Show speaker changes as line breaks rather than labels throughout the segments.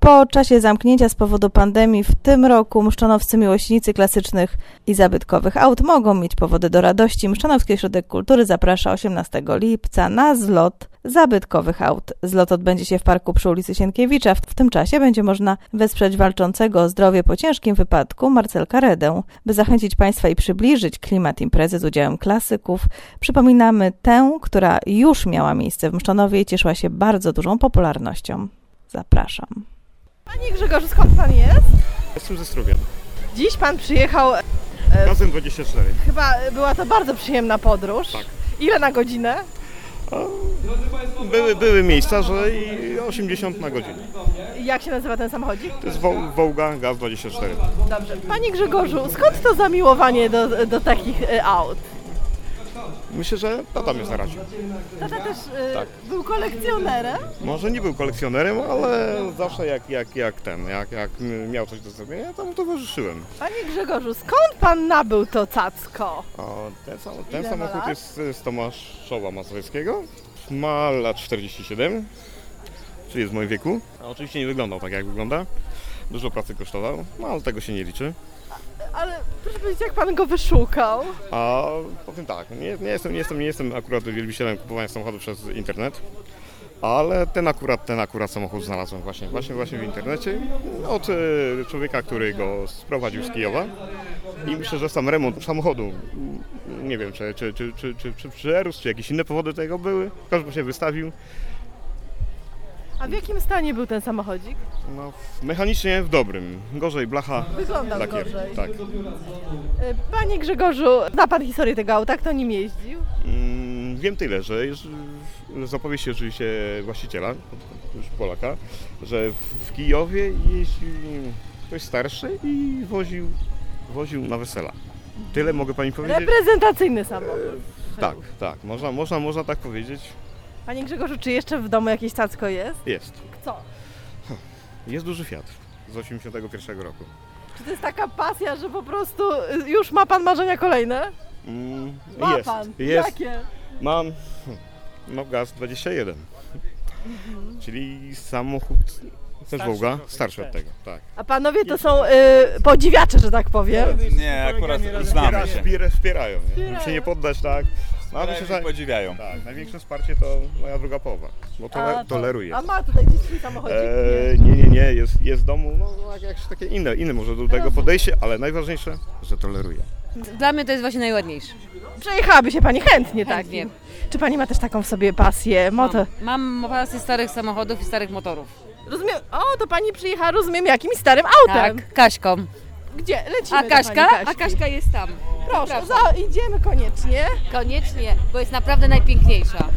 Po czasie zamknięcia z powodu pandemii w tym roku mszczanowscy miłośnicy klasycznych i zabytkowych aut mogą mieć powody do radości. Mszczanowski Ośrodek Kultury zaprasza 18 lipca na zlot zabytkowych aut. Zlot odbędzie się w parku przy ulicy Sienkiewicza. W tym czasie będzie można wesprzeć walczącego o zdrowie po ciężkim wypadku Marcelka Redę. By zachęcić Państwa i przybliżyć klimat imprezy z udziałem klasyków, przypominamy tę, która już miała miejsce w Mszczanowie i cieszyła się bardzo dużą popularnością. Zapraszam.
Panie Grzegorzu, skąd pan jest?
Jestem ze Strugiem.
Dziś pan przyjechał,
Razem 24.
chyba była to bardzo przyjemna podróż.
Tak.
Ile na godzinę?
Były, były miejsca, że i 80 na godzinę.
Jak się nazywa ten samochodzik?
To jest Wo- Wołga GAZ 24.
Dobrze. Panie Grzegorzu, skąd to zamiłowanie do, do takich e, aut?
Myślę, że tata mnie zaraził.
Tata też e,
Tak.
był kolekcjonerem.
Może nie był kolekcjonerem, ale zawsze jak, jak, jak ten, jak, jak miał coś do zrobienia, ja tam towarzyszyłem.
Panie Grzegorzu, skąd pan nabył to cacko?
O, ten sam, ten
Ile ma
samochód
lat?
jest z Tomaszowa Mazowieckiego. Ma lat 47, czyli jest w moim wieku. A oczywiście nie wyglądał tak, jak wygląda. Dużo pracy kosztował, no ale tego się nie liczy.
Ale proszę powiedzieć, jak pan go wyszukał?
A powiem tak, nie, nie, jestem, nie, jestem, nie jestem akurat wielbicielem kupowania samochodów przez internet, ale ten akurat, ten akurat samochód znalazłem właśnie, właśnie, właśnie w internecie od e, człowieka, który go sprowadził z Kijowa i myślę, że sam remont samochodu, m, nie wiem czy, czy, czy, czy, czy, czy przerósł, czy jakieś inne powody tego były, w każdym się wystawił,
A w jakim stanie był ten samochodzik?
no w- mechanicznie w dobrym, gorzej blacha,
Wyglądał
lakier,
gorzej.
tak.
E, Panie Grzegorzu, zna pan historię tego auta? Kto nim jeździł?
Mm, Wiem tyle, że jest, z opowieści oczywiście właściciela, już Polaka, że w- w Kijowie jeździł ktoś starszy i woził, woził na wesela. Tyle mogę pani powiedzieć?
Reprezentacyjny samochód.
Tak, tak, można, można, można tak powiedzieć.
Panie Grzegorzu, czy jeszcze w domu jakieś cacko jest?
Jest.
Co?
Jest duży Fiat z 81 roku.
Czy to jest taka pasja, że po prostu y, już ma pan marzenia kolejne?
Mm,
Ma
jest,
pan.
jest.
Jakie?
Mam no, gaz 21.
Mhm.
Czyli samochód też Wołga, starszy od tego, tak.
A panowie to są y, podziwiacze, że tak powiem.
Nie, akurat znamy się.
Wspiera, wspierają, nie? Żeby się
Wspierają.
nie poddać, tak. No, ale myślę,
Przynajmniej
że
podziwiają.
tak, największe wsparcie to moja druga połowa, bo
A,
tole, toleruje.
A ma tutaj dziś swój samochodzik? nie?
E, nie, nie, nie, jest, jest w domu, no jak- jakieś takie inne, inne może do tego podejście, ale najważniejsze, że toleruje.
Dla mnie to jest właśnie najładniejsze.
Przejechałaby się pani chętnie tak.
Chętnie.
Czy pani ma też taką w sobie pasję? Moto.
Mam pasję starych samochodów i starych motorów.
Rozumiem. O, to pani przyjechała, rozumiem, jakim starym autem.
Tak, Kaśką.
Gdzie? Lecimy
A
do
Kaśka?
pani Kaśki.
A Kaśka jest tam.
Proszę, za, idziemy koniecznie.
Koniecznie, bo jest naprawdę najpiękniejsza.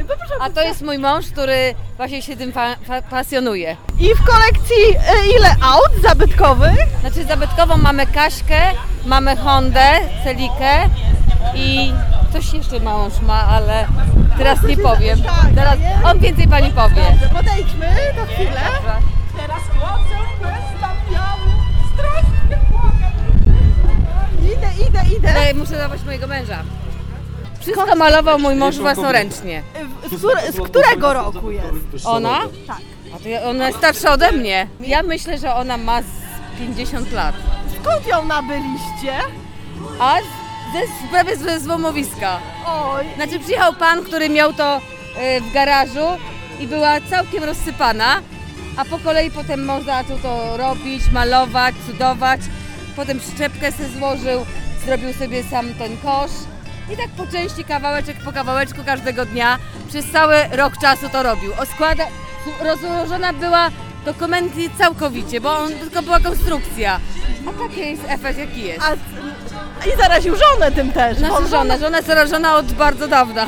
Y, Poproszę o
A to jest mój mąż, który właśnie się tym fa- fa- pasjonuje.
I w kolekcji y, ile aut zabytkowych?
Znaczy zabytkową mamy Kaśkę, mamy Hondę, Celikę i coś jeszcze mąż ma, ale teraz nie powiem.
Tak,
Teraz
nie?
on więcej pani powie.
Dobrze, podejdźmy to chwilę.
Teraz chłopcem wystawiony strach nie płakał.
Idę, idę, idę.
Ale E, muszę zabrać mojego męża. Wszystko malował mój mąż własnoręcznie.
W- Z, które- z którego roku jest?
Ona? Tak. A to ja- ona jest starsza ode mnie. Ja myślę, że ona ma z 50 lat.
Skąd ją nabyliście?
A ze, prawie ze złomowiska.
Oj,
Znaczy przyjechał pan, który miał to e, w garażu i była całkiem rozsypana, a po kolei potem mąż zaczął to robić, malować, cudować. Potem przyczepkę se złożył, zrobił sobie sam ten kosz. I tak po części kawałeczek po kawałeczku każdego dnia przez cały rok czasu to robił. Oskłada, rozłożona była dokumenty całkowicie, bo on, tylko była konstrukcja. A taki jest efekt jaki jest.
a, i zaraził żonę tym też.
Nasza
bo
żona, żona jest zarażona od bardzo dawna.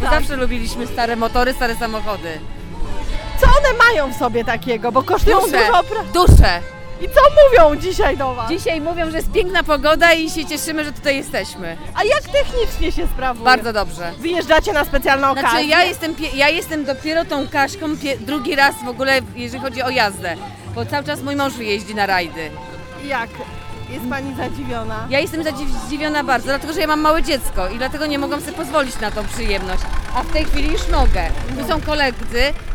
Bo Zawsze lubiliśmy stare motory, stare samochody.
Co one mają w sobie takiego? Bo kosztują
Dusze,
dużo pra...
dusze.
I co mówią dzisiaj do was?
Dzisiaj mówią, że jest piękna pogoda i się cieszymy, że tutaj jesteśmy.
A jak technicznie się sprawuje?
Bardzo dobrze.
Wyjeżdżacie na specjalną okazję?
Znaczy ja jestem, pie- ja jestem dopiero tą Kaszką pie- drugi raz w ogóle, jeżeli chodzi o jazdę. Bo cały czas mój mąż jeździ na rajdy.
Jak? Jest pani zadziwiona?
Ja jestem zadziw- zdziwiona bardzo, dlatego że ja mam małe dziecko i dlatego nie mogłam sobie pozwolić na tą przyjemność. A w tej chwili już mogę. Tu są koledzy,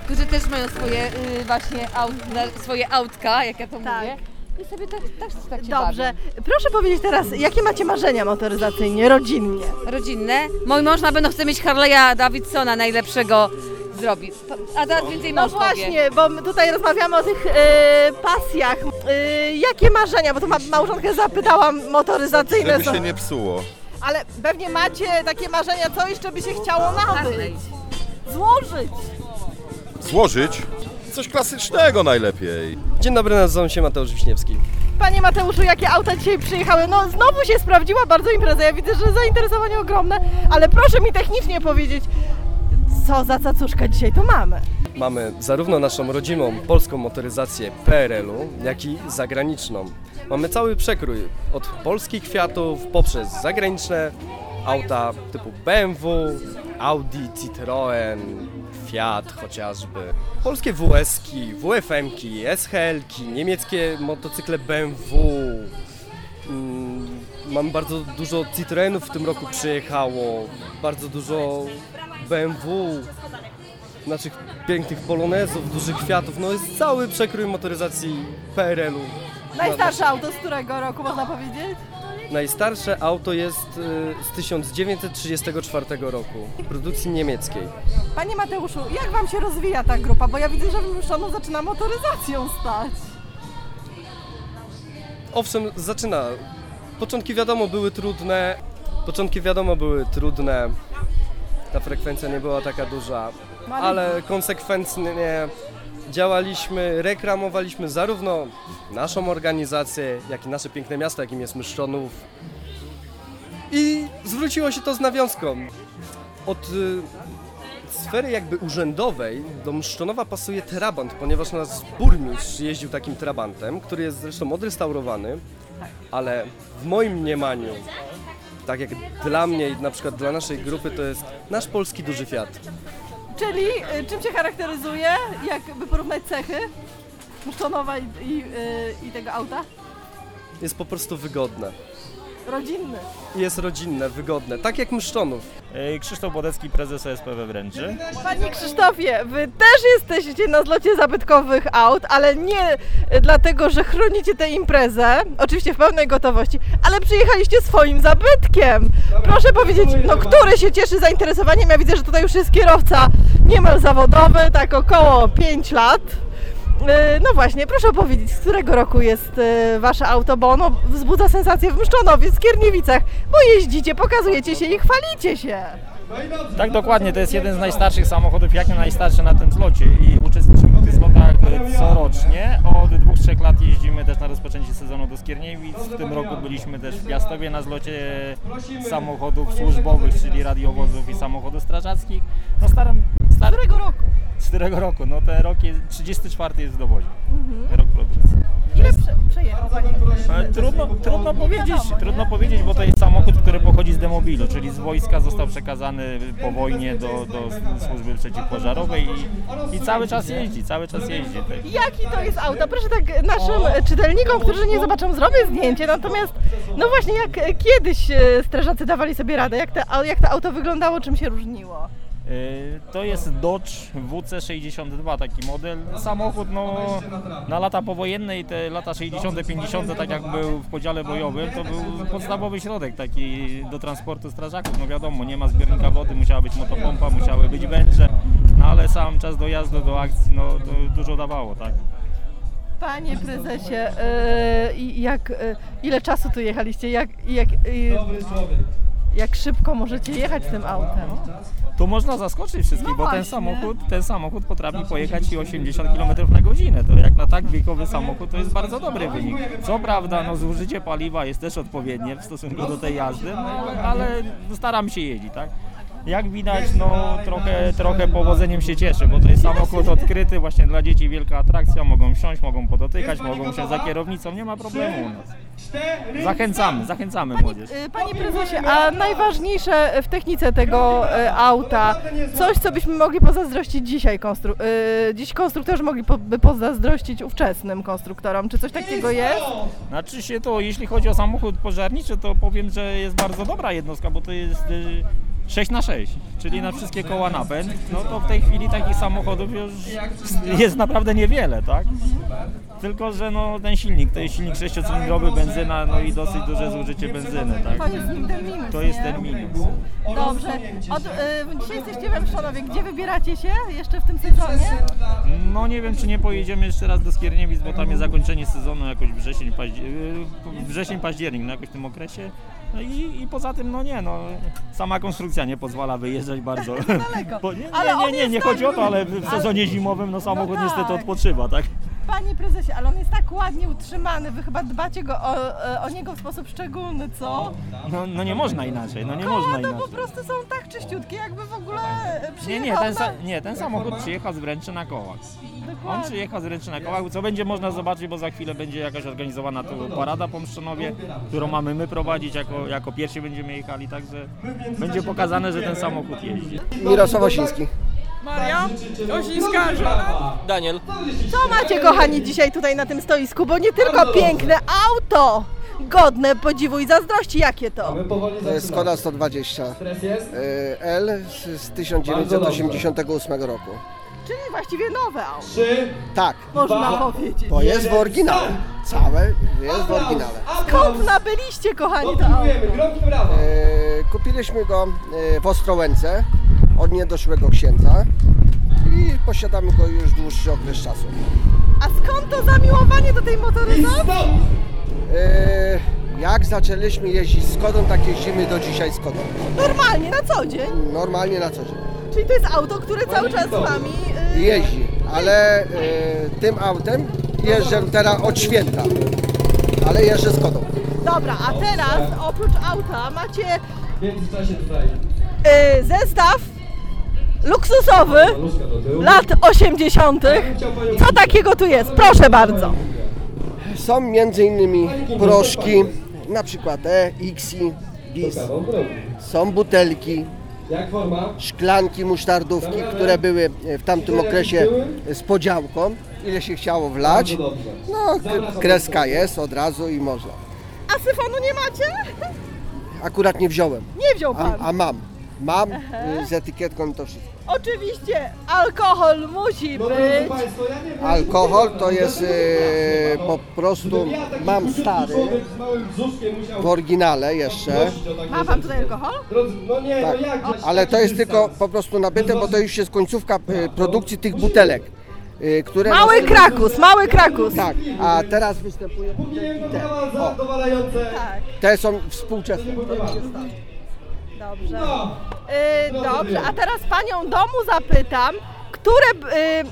tu Niektórzy też mają swoje y, właśnie aut, na- swoje autka, jak ja to
Tak.
mówię. I sobie tak, tak, tak się
Dobrze. Proszę powiedzieć teraz, jakie macie marzenia motoryzacyjnie, rodzinnie?
bawię. Rodzinne. Mój mąż na pewno chce mieć Harley'a Davidsona, najlepszego zrobi. To- A teraz więcej
No
mąż powie.
właśnie, bo my tutaj rozmawiamy o tych e, pasjach. E, jakie marzenia? Bo to ma, małżonkę zapytałam, motoryzacyjne
Żeby
są.
się nie psuło.
Ale pewnie macie takie marzenia, co jeszcze by się chciało nabyć,
Harley.
złożyć.
Złożyć coś klasycznego najlepiej.
Dzień dobry, nazywam się Mateusz Wiśniewski.
Panie Mateuszu, jakie auta dzisiaj przyjechały? No znowu się sprawdziła bardzo impreza, ja widzę, że zainteresowanie ogromne, ale proszę mi technicznie powiedzieć, co za cacuszka dzisiaj tu mamy?
Mamy zarówno naszą rodzimą polską motoryzację PRL-u, jak i zagraniczną. Mamy cały przekrój od polskich kwiatów poprzez zagraniczne auta typu BMW, Audi, Citroën, Fiat chociażby. Polskie WS-ki, WFM-ki, SHL-ki, niemieckie motocykle BMW, Mm, Mam bardzo dużo Citroenów w tym roku przyjechało, bardzo dużo BMW, naszych pięknych polonezów, dużych kwiatów. No jest cały przekrój motoryzacji PRL-u.
Najstarsze auto z którego roku można powiedzieć?
Najstarsze auto jest y, z 1934 roku, produkcji niemieckiej.
Panie Mateuszu, jak Wam się rozwija ta grupa? Bo ja widzę, że Wymuszono zaczyna motoryzacją stać.
Owszem, zaczyna. Początki wiadomo były trudne. Początki wiadomo były trudne. Ta frekwencja nie była taka duża, ale konsekwentnie działaliśmy, reklamowaliśmy zarówno naszą organizację, jak i nasze piękne miasto, jakim jest Myszczonów. I zwróciło się to z nawiązką. Od y, sfery jakby urzędowej do Mszczonowa pasuje trabant, ponieważ nasz burmistrz jeździł takim trabantem, który jest zresztą odrestaurowany, ale w moim mniemaniu, tak jak dla mnie i na przykład dla naszej grupy, to jest nasz polski duży Fiat.
Czyli y, czym się charakteryzuje, jakby porównać cechy Musztonowa i, i, y, i tego auta?
Jest po prostu wygodne.
Rodzinny.
Jest rodzinne, wygodne, tak jak Mszczonów.
E, Krzysztof Bodecki, prezes OSPW Wręczy.
Panie Krzysztofie, Wy też jesteście na zlocie zabytkowych aut, ale nie y, dlatego, że chronicie tę imprezę, oczywiście w pełnej gotowości, ale przyjechaliście swoim zabytkiem. Proszę powiedzieć, no który się cieszy zainteresowaniem? Ja widzę, że tutaj już jest kierowca niemal zawodowy, tak około 5 lat. Y, No właśnie, proszę powiedzieć, z którego roku jest y, wasze auto, bo ono wzbudza sensację w Mszczonowie, w Skierniewicach, bo jeździcie, pokazujecie się i chwalicie się.
Tak dokładnie, to jest jeden z najstarszych samochodów, jak nie najstarszy na tym zlocie i uczestniczymy w tych zlotach e, corocznie. Od dwóch, trzech lat jeździmy też na rozpoczęcie sezonu do Skierniewic. W tym roku byliśmy też w Piastowie na zlocie samochodów służbowych, czyli radiowozów i samochodów strażackich. No starym,
Z
starym
którego roku?
z którego roku? No ten rok jest, 34 jest w dowozie, rok produkcji.
Ile prze, przejechał Pani?
Ale Trudno, trudno powiedzieć, trudno powiedzieć, bo to jest samochód, który pochodzi z demobilu, czyli z wojska został przekazany po wojnie do, do służby przeciwpożarowej i, i cały czas jeździ, cały czas jeździ. Tak.
Jaki to jest auto? Proszę tak naszym e, czytelnikom, którzy nie zobaczą, zrobię zdjęcie, natomiast no właśnie jak e, kiedyś e, strażacy dawali sobie radę, jak, te, au- jak to auto wyglądało, czym się różniło?
Y, To jest Dodge WC62, taki model. Samochód no, na lata powojenne i te lata 60., 50., tak jak był w podziale bojowym, to był podstawowy środek taki do transportu strażaków. No wiadomo, nie ma zbiornika wody, musiała być motopompa, musiały być węże, no ale sam czas dojazdu do akcji no, to dużo dawało, tak.
Panie prezesie, e, i jak, e, ile czasu tu jechaliście? Jak, i jak, e, jak szybko możecie jechać tym autem?
Tu można zaskoczyć wszystkich,
No
bo ten
właśnie.
samochód, ten samochód potrafi pojechać i 80 km na godzinę. To jak na tak wiekowy samochód to jest bardzo dobry wynik. Co prawda, no, zużycie paliwa jest też odpowiednie w stosunku do tej jazdy, no, ale- ale staram się jeździć, tak? Jak widać, no trochę, trochę powodzeniem się cieszę, bo to jest samochód odkryty, właśnie dla dzieci wielka atrakcja, mogą wsiąść, mogą podotykać, mogą się za kierownicą, nie ma problemu u nas. Zachęcamy, zachęcamy młodzież.
E, Panie prezesie, a najważniejsze w technice tego e, auta, coś co byśmy mogli pozazdrościć dzisiaj, konstru- e, dziś konstruktorzy mogli po- by pozazdrościć ówczesnym konstruktorom, czy coś takiego jest?
Znaczy się to, jeśli chodzi o samochód pożarniczy, to powiem, że jest bardzo dobra jednostka, bo to jest y, 6 na 6, czyli na wszystkie koła napęd, no to w tej chwili takich samochodów już jest naprawdę niewiele, tak? Tylko, że no, ten silnik, to jest silnik sześciocylindrowy, benzyna, no i dosyć duże zużycie benzyny,
To
tak?
jest ten minus,
To jest
nie?
ten minus.
Dobrze. Od, y, dzisiaj jesteście we Mszanowie. Gdzie wybieracie się jeszcze w tym sezonie?
No nie wiem, czy nie pojedziemy jeszcze raz do Skierniewic, bo tam jest zakończenie sezonu, jakoś wrzesień, paździ- yy, wrzesień październik, no jakoś w tym okresie. No i, i poza tym, no nie, no sama konstrukcja nie pozwala wyjeżdżać bardzo.
daleko.
Bo, nie,
Ale
nie,
on
nie, nie,
jest
nie
tak-
chodzi o to, ale w
Ale-
sezonie zimowym no samochód
No
niestety
tak.
odpoczywa, tak?
Panie prezesie, ale on jest tak ładnie utrzymany. Wy chyba dbacie go o, e, o niego w sposób szczególny, co?
No, no nie można inaczej, no nie można
Koła to po
inaczej.
prostu są tak czyściutkie, jakby w ogóle e,
Nie,
przyjechał
nie, ten, sa-
na...
nie, ten samochód przyjechał z wręczy na kołach. On
Dokładnie.
przyjechał z ręczy na kołach, co będzie można zobaczyć, bo za chwilę będzie jakaś organizowana tu parada po Mszczonowie, którą mamy my prowadzić, jako, jako pierwsi będziemy jechali, także będzie pokazane, że ten samochód jeździ.
Mirosław Osiński.
Maria? Co macie, kochani, dzisiaj tutaj na tym stoisku? Bo nie tylko piękne auto, godne podziwu i zazdrości. Jakie to?
To jest Skoda 120 y, L z- z 1988 roku.
Czyli właściwie nowe auto,
Tak,
można powiedzieć.
bo jest w oryginale. Całe jest w oryginale.
Skąd nabyliście, kochani, to auto?
Y, Kupiliśmy go y, w Ostrołęce od niedoszłego księdza i posiadamy go już dłuższy okres czasu.
A skąd to zamiłowanie do tej motoryzacji?
Y, Jak zaczęliśmy jeździć Skodą, tak jeździmy do dzisiaj Skodą.
Normalnie, na co dzień.
Normalnie na co dzień.
Czyli to jest auto, które cały czas z wami... y,
jeździ, ale y, tym autem jeżdżę teraz od święta, ale jeżdżę z kodą.
Dobra, a teraz oprócz auta macie y, zestaw luksusowy lat 80. Co takiego tu jest? Proszę bardzo.
Są między innymi proszki, na przykład E, Xi, Bis. Są butelki, szklanki musztardówki, które były e, w tamtym okresie z podziałką, ile się chciało wlać. No, k- kreska jest od razu i można.
A syfonu nie macie?
Akurat nie wziąłem,
Nie wziął
a,
pan.
a mam. Mam y, z etykietką to wszystko.
Oczywiście alkohol musi być.
Alkohol to jest e, po prostu mam stary w oryginale jeszcze,
Ma pan tutaj alkohol?
tak. ale to jest tylko po prostu nabyte, bo to już jest końcówka e, produkcji tych butelek, e, które
Mały krakus, mały krakus.
tak, a teraz występuje te. O,
Tak.
te są współczesne.
Dobrze. Y, dobrze, a teraz panią domu zapytam, które, b- y,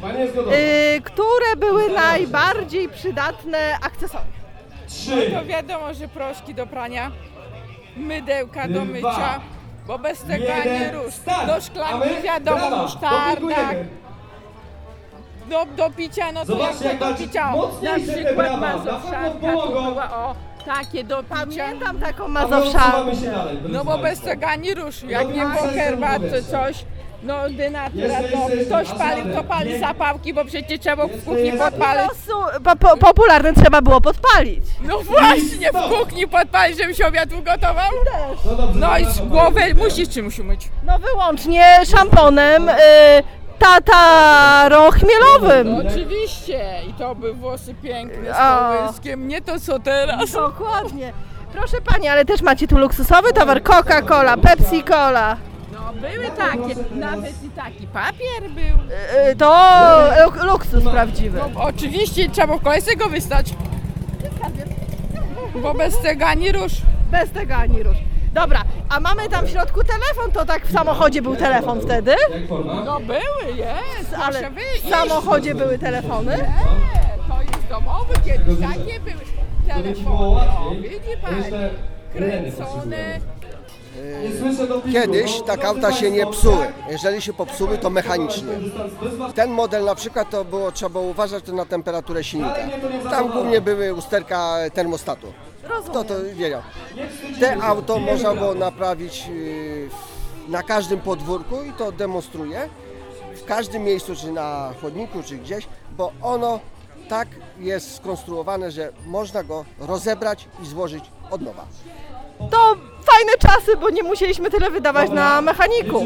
y, które były najbardziej przydatne akcesoria?
To wiadomo, że proszki do prania, mydełka do mycia, bo bez tego ani rusz. Do szklanki wiadomo, musztarda. Do, do picia, no to jak do picia, na przykład mazowszanka tu była, o, takie do picia.
Pamiętam taką mazowszankę.
No bo bez tego ani rusz, jak nie było herbat czy coś. No denatura, to ktoś pali, to pali zapałki, bo przecież trzeba w kuchni podpalić.
Losu, po, po, popularne trzeba było podpalić.
No właśnie, w kuchni podpalić, żeby się obiad ugotował. No i z głowy musisz czymś umyć.
No wyłącznie szamponem y, tatarochmielowym.
Oczywiście, i to by włosy piękne, z
O.
kołyskiem, nie to co teraz.
Dokładnie. Proszę pani, ale też macie tu luksusowy towar Coca-Cola, Pepsi-Cola.
No były takie, nawet i taki papier był.
Y, to luk- luksus prawdziwy.
Oczywiście trzeba w kolejce go wystać. Bo bez tego ani rusz.
Bez tego ani rusz. Dobra, a mamy tam w środku telefon, to tak w samochodzie był telefon wtedy?
No były, jest,
Ale
ale
w
wyjść.
samochodzie były telefony?
To jest domowy, kiedyś takie były telefony. O, widzi pan, kręcone.
Kiedyś tak auta się nie psuły. Jeżeli się popsuły, to mechanicznie.
Ten model na przykład to było, trzeba było uważać to na temperaturę silnika. Tam głównie były usterka termostatu. Kto to wiedział? Te auto można było naprawić yy, na każdym podwórku i to demonstruje. W każdym miejscu, czy na chodniku, czy gdzieś, bo ono tak jest skonstruowane, że można go rozebrać i złożyć od nowa.
To fajnie. fajne czasy, bo nie musieliśmy tyle wydawać na mechaników.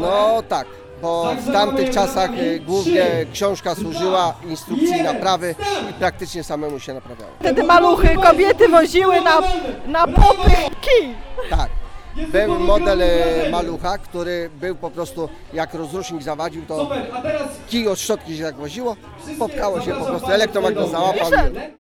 No tak, bo w tamtych czasach y, głównie książka służyła instrukcji naprawy i praktycznie samemu się naprawiało.
Wtedy maluchy kobiety woziły na, na popy kij.
Tak. Był model e, malucha, który był po prostu, jak rozrusznik zawadził, to kij od szczotki się tak woziło, popkało się po prostu, elektromagnes załapał. i-